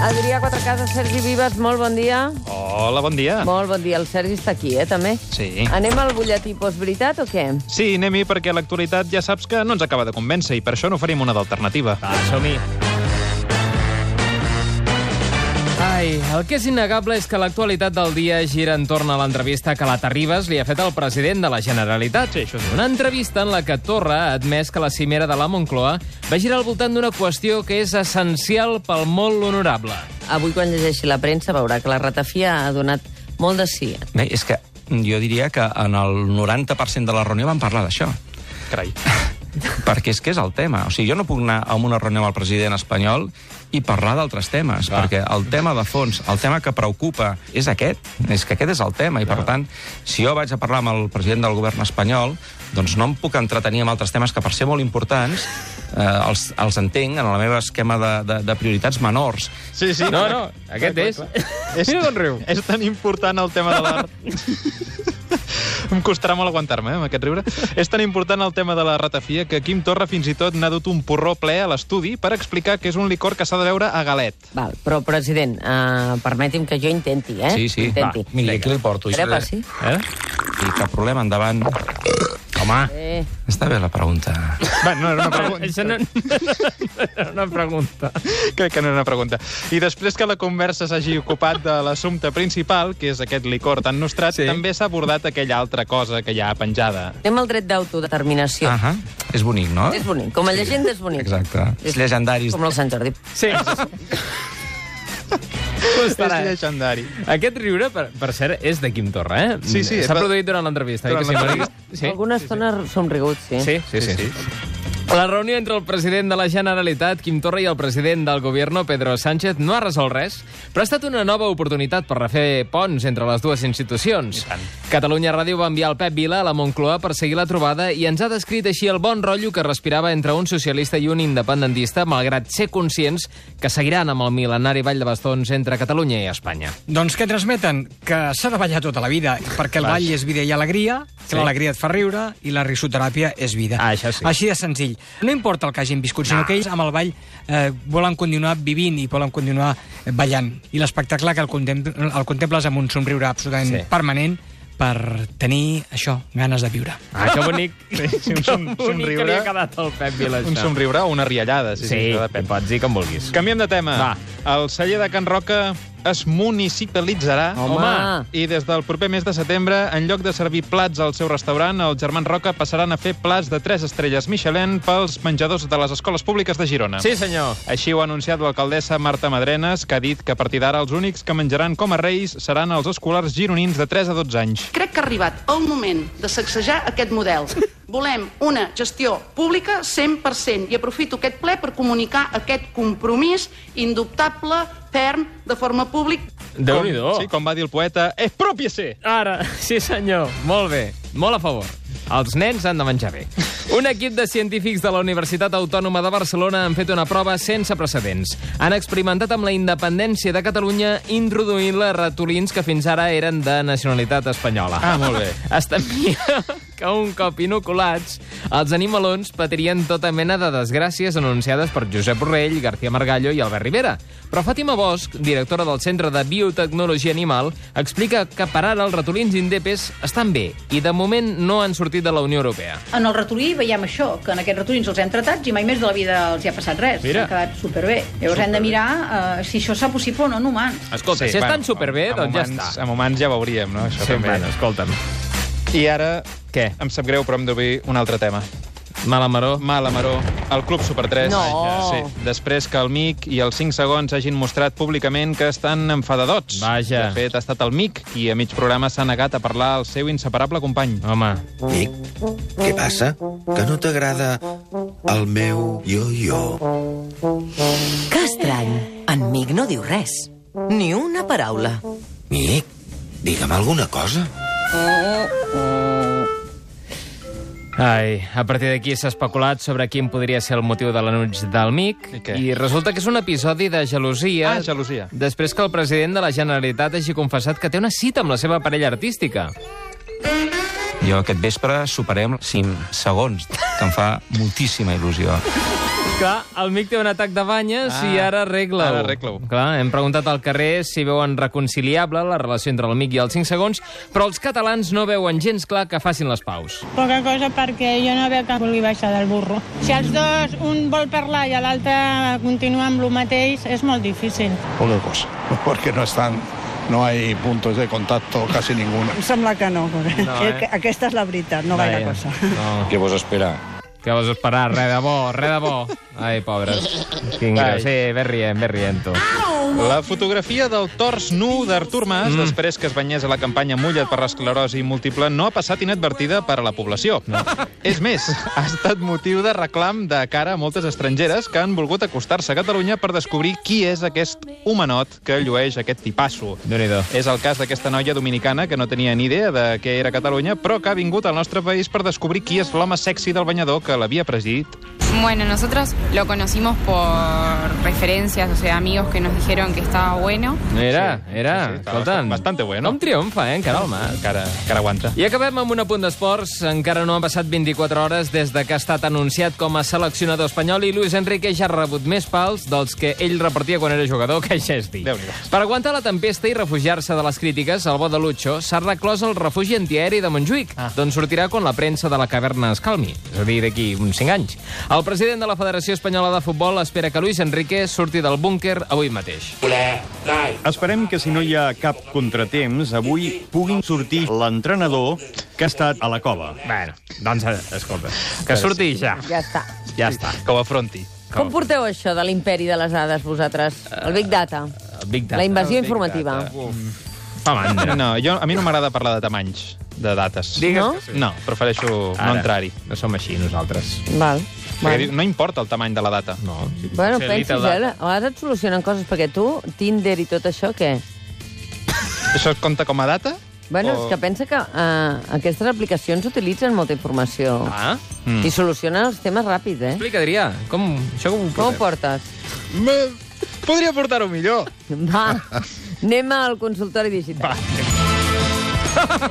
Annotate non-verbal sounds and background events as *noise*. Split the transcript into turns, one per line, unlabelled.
Adrià Quatrecases, Sergi Vives, molt bon dia.
Hola, bon dia.
Molt bon dia. El Sergi està aquí, eh, també.
Sí.
Anem al butlletí postveritat o què?
Sí, anem-hi, perquè l'actualitat ja saps que no ens acaba de convèncer i per això n'oferim una d'alternativa.
Va, som-hi. Ai, el que és innegable és que l'actualitat del dia gira entorn a l'entrevista que la Terribas li ha fet al president de la Generalitat.
Sí, això sí.
Una entrevista en la que Torra ha admès que la cimera de la Moncloa va girar al voltant d'una qüestió que és essencial pel molt honorable.
Avui, quan llegeixi la premsa, veurà que la ratafia ha donat molt de sí.
Bé, és que jo diria que en el 90% de la reunió van parlar d'això.
Carai.
Perquè és que és el tema. O sigui, jo no puc anar a una reunió amb el president espanyol i parlar d'altres temes, Clar. perquè el tema de fons, el tema que preocupa és aquest, és que aquest és el tema, i per tant, si jo vaig a parlar amb el president del govern espanyol, doncs no em puc entretenir amb altres temes que per ser molt importants eh, els, els entenc en el meu esquema de, de, de prioritats menors.
Sí, sí.
No, no, aquest és. Mira com riu.
És tan important el tema de
*laughs*
l'art. em costarà molt aguantar-me, eh, amb aquest riure. És tan important el tema de la ratafia que Quim Torra fins i tot n'ha dut un porró ple a l'estudi per explicar que és un licor que s'ha de veure a
*laughs*
galet.
Val, però, president, uh, permeti'm que jo intenti, eh?
Sí, sí.
Intenti.
Va, mira, aquí li porto.
Crepa, sí?
Eh?
I cap problema, endavant. Home,
Eh,
està bé la pregunta.
Bé, no, era una pregunta.
Això no, *laughs* era una pregunta.
Crec que no era una pregunta. I després que la conversa s'hagi ocupat de l'assumpte principal, que és aquest licor tan nostrat,
Sí.
sí. també s'ha abordat aquella altra cosa que hi ha penjada.
anem al dret d'autodeterminació.
Ah -ha. És bonic, no?
És bonic. Com a llegenda és bonic.
Exacte. És legendaris.
Com el Sant Jordi.
*laughs*
Sí. Costarà. eh?
És llegendari.
Aquest riure, per, per cert, és de Quim Torra, eh?
Sí, sí,
S'ha
és-
produït durant l'entrevista. oi
Durant
que sí,
l'entrevista.
Maric? Sí?
Alguna estona som rigut, sí.
Sí, sí, sí. sí. La reunió entre el president de la Generalitat, Quim Torra, i el president del govern, Pedro Sánchez, no ha resolt res, però ha estat una nova oportunitat per refer ponts entre les dues institucions. Catalunya Ràdio va enviar el Pep Vila a la Moncloa per seguir la trobada i ens ha descrit així el bon rotllo que respirava entre un socialista i un independentista, malgrat ser conscients que seguiran amb el mil·lenari Vall de Bastons entre Catalunya i Espanya.
Doncs què transmeten? Que s'ha de ballar tota la vida, perquè el ball és vida i alegria,
Sí.
que sí. l'alegria et fa riure i la risoteràpia és vida.
Ah, això sí. Ah.
Així de senzill. No importa el que hagin viscut, sinó que ells amb el ball eh, volen continuar vivint i volen continuar eh, ballant. I l'espectacle que el, contempl el contemples amb un somriure absolutament
Sí.
sí. permanent per tenir, això, ganes de viure.
Ah, que bonic.
Sí, sí, un
Que
som-
bonic
somriure.
que li ha quedat el Pep Vila, això.
Un somriure o una riallada, sí,
Sí,
sí, sí que
que
depèn.
pots dir com vulguis.
Canviem de tema.
Va.
El celler de Can Roca es municipalitzarà
Home. Home.
i des del proper mes de setembre, en lloc de servir plats al seu restaurant, els germans Roca passaran a fer plats de 3 estrelles Michelin pels menjadors de les escoles públiques de Girona.
Sí, senyor.
Així ho ha anunciat l'alcaldessa Marta Madrenes, que ha dit que a partir d'ara els únics que menjaran com a reis seran els escolars gironins de 3 a 12 anys.
Crec que ha arribat el moment de sacsejar aquest model. Volem una gestió pública 100% i aprofito aquest ple per comunicar aquest compromís indubtable, ferm, de forma pública.
déu nhi
Com, sí, com va dir el poeta, «Expropiese!»
Ara, *laughs* sí senyor. Molt bé, molt a favor. Els nens han de menjar bé. Un equip de científics de la Universitat Autònoma de Barcelona han fet una prova sense precedents. Han experimentat amb la independència de Catalunya introduint-la a ratolins que fins ara eren de nacionalitat espanyola.
Ah, molt bé.
Establia que un cop inoculats, els animalons patirien tota mena de desgràcies anunciades per Josep Borrell, García Margallo i Albert Rivera. Però Fàtima Bosch, directora del Centre de Biotecnologia Animal, explica que per ara els ratolins indepes estan bé i de moment no han sortit de la Unió Europea.
En el ratolí veiem això, que en aquests ratolins els hem tratat i mai més de la vida els hi ha passat res.
Mira.
S'ha quedat superbé. Llavors hem de mirar eh, si això s'ha possible o no en humans.
Escolta, si estan superbé,
amb
doncs ja
humans,
està.
Amb humans ja veuríem, no? Això també.
escolta'm.
I ara,
Què?
em sap greu, però hem d'obrir un altre tema.
Mala maró.
Mala Maró, el Club Super 3.
No.
Sí, després que el Mic i els 5 segons hagin mostrat públicament que estan enfadadots.
Vaja.
De fet, ha estat el Mic qui a mig programa s'ha negat a parlar al seu inseparable company.
Home,
Mic, què passa? Que no t'agrada el meu yo-yo?
Que estrany. En Mic no diu res. Ni una paraula.
Mic, digue'm alguna cosa.
Ai, a partir d'aquí s'ha especulat sobre quin podria ser el motiu de l'enuig del MIC
I què?
i resulta que és un episodi de gelosia
Ah, gelosia.
després que el president de la Generalitat hagi confessat que té una cita amb la seva parella artística.
Jo aquest vespre superem 5 segons, que em fa moltíssima il·lusió.
Clar, el Mic té un atac de banyes ah, i ara arregla-ho.
ara arregla-ho.
Clar, hem preguntat al carrer si veuen reconciliable la relació entre el Mic i els 5 segons, però els catalans no veuen gens clar que facin les paus.
Poca cosa perquè jo no veig que vulgui baixar del burro. Si els dos, un vol parlar i l'altre continua amb el mateix, és molt difícil.
poca cosa, *laughs* porque no están, no hay puntos de contacto casi ninguno.
Em sembla que no. no
eh?
Aquesta és la veritat, no
gaire Vaja. cosa. No.
Què vols esperar?
Què vols esperar? Re de bo, re de bo. Ai, pobres. Quin greu. Sí,
eh,
ve rient, ve rient, tu.
La fotografia del tors nu d'Artur Mas, mm. després que es banyés a la campanya mullat per l'esclerosi múltiple, no ha passat inadvertida per a la població. No. És més, ha estat motiu de reclam de cara a moltes estrangeres que han volgut acostar-se a Catalunya per descobrir qui és aquest homenot que llueix aquest tipasso.
Déu-n'hi-do.
És el cas d'aquesta noia dominicana que no tenia ni idea de què era Catalunya, però que ha vingut al nostre país per descobrir qui és l'home sexy del banyador que l'havia presidit.
Bueno, nosotros lo conocimos por referencias, o sea, amigos que nos dijeron que estaba bueno.
Era, era.
sí, sí, estava
Escolta'm.
bastante bueno.
Com triomfa, eh, encara el Mas.
Encara, encara aguanta.
I acabem amb un apunt d'esports. Encara no han passat 24 hores des de que ha estat anunciat com a seleccionador espanyol i Luis Enrique ja ha rebut més pals dels que ell repartia quan era jugador, que ja és dir.
Déu-n'hi-do.
Per aguantar la tempesta i refugiar-se de les crítiques, el bo de Lucho s'ha reclòs al refugi antiaeri de Montjuïc, ah. d'on sortirà quan la premsa de la caverna es calmi, és a dir, d'aquí uns 5 anys. El president de la Federació Espanyola de Futbol espera que Luis Enrique surti del búnquer avui mateix.
Esperem que si no hi ha cap contratemps, avui puguin sortir l'entrenador que ha estat a la cova.
Bueno, doncs, eh, escolta, que surti ja.
Ja està.
Ja està.
Que ho afronti.
Com porteu això de l'imperi de les dades, vosaltres? El Big Data.
Eh, el Big Data.
La invasió
El Big
informativa.
Fa mandra.
No, jo, a mi no m'agrada parlar de tamanys, de dates.
Digues
No?
que sí.
No, prefereixo Ara. no entrar-hi.
No som així, nosaltres.
Val.
Perquè
Val.
diu, No importa el tamany de la data.
No. Sí.
Bueno,
Potser
pensis,
Little
eh?
Data.
A vegades et solucionen coses, perquè tu, Tinder i tot això, què?
Això es compta com a data?
Bueno,
O-
és que pensa que uh, aquestes aplicacions utilitzen molta informació.
Ah?
Mm. I solucionen els temes ràpid, eh?
Explica, Adrià, com, això com ho
Com ho
portem?
portes?
Me- Podria portar-ho millor.
Va, anem al consultori digital. Va.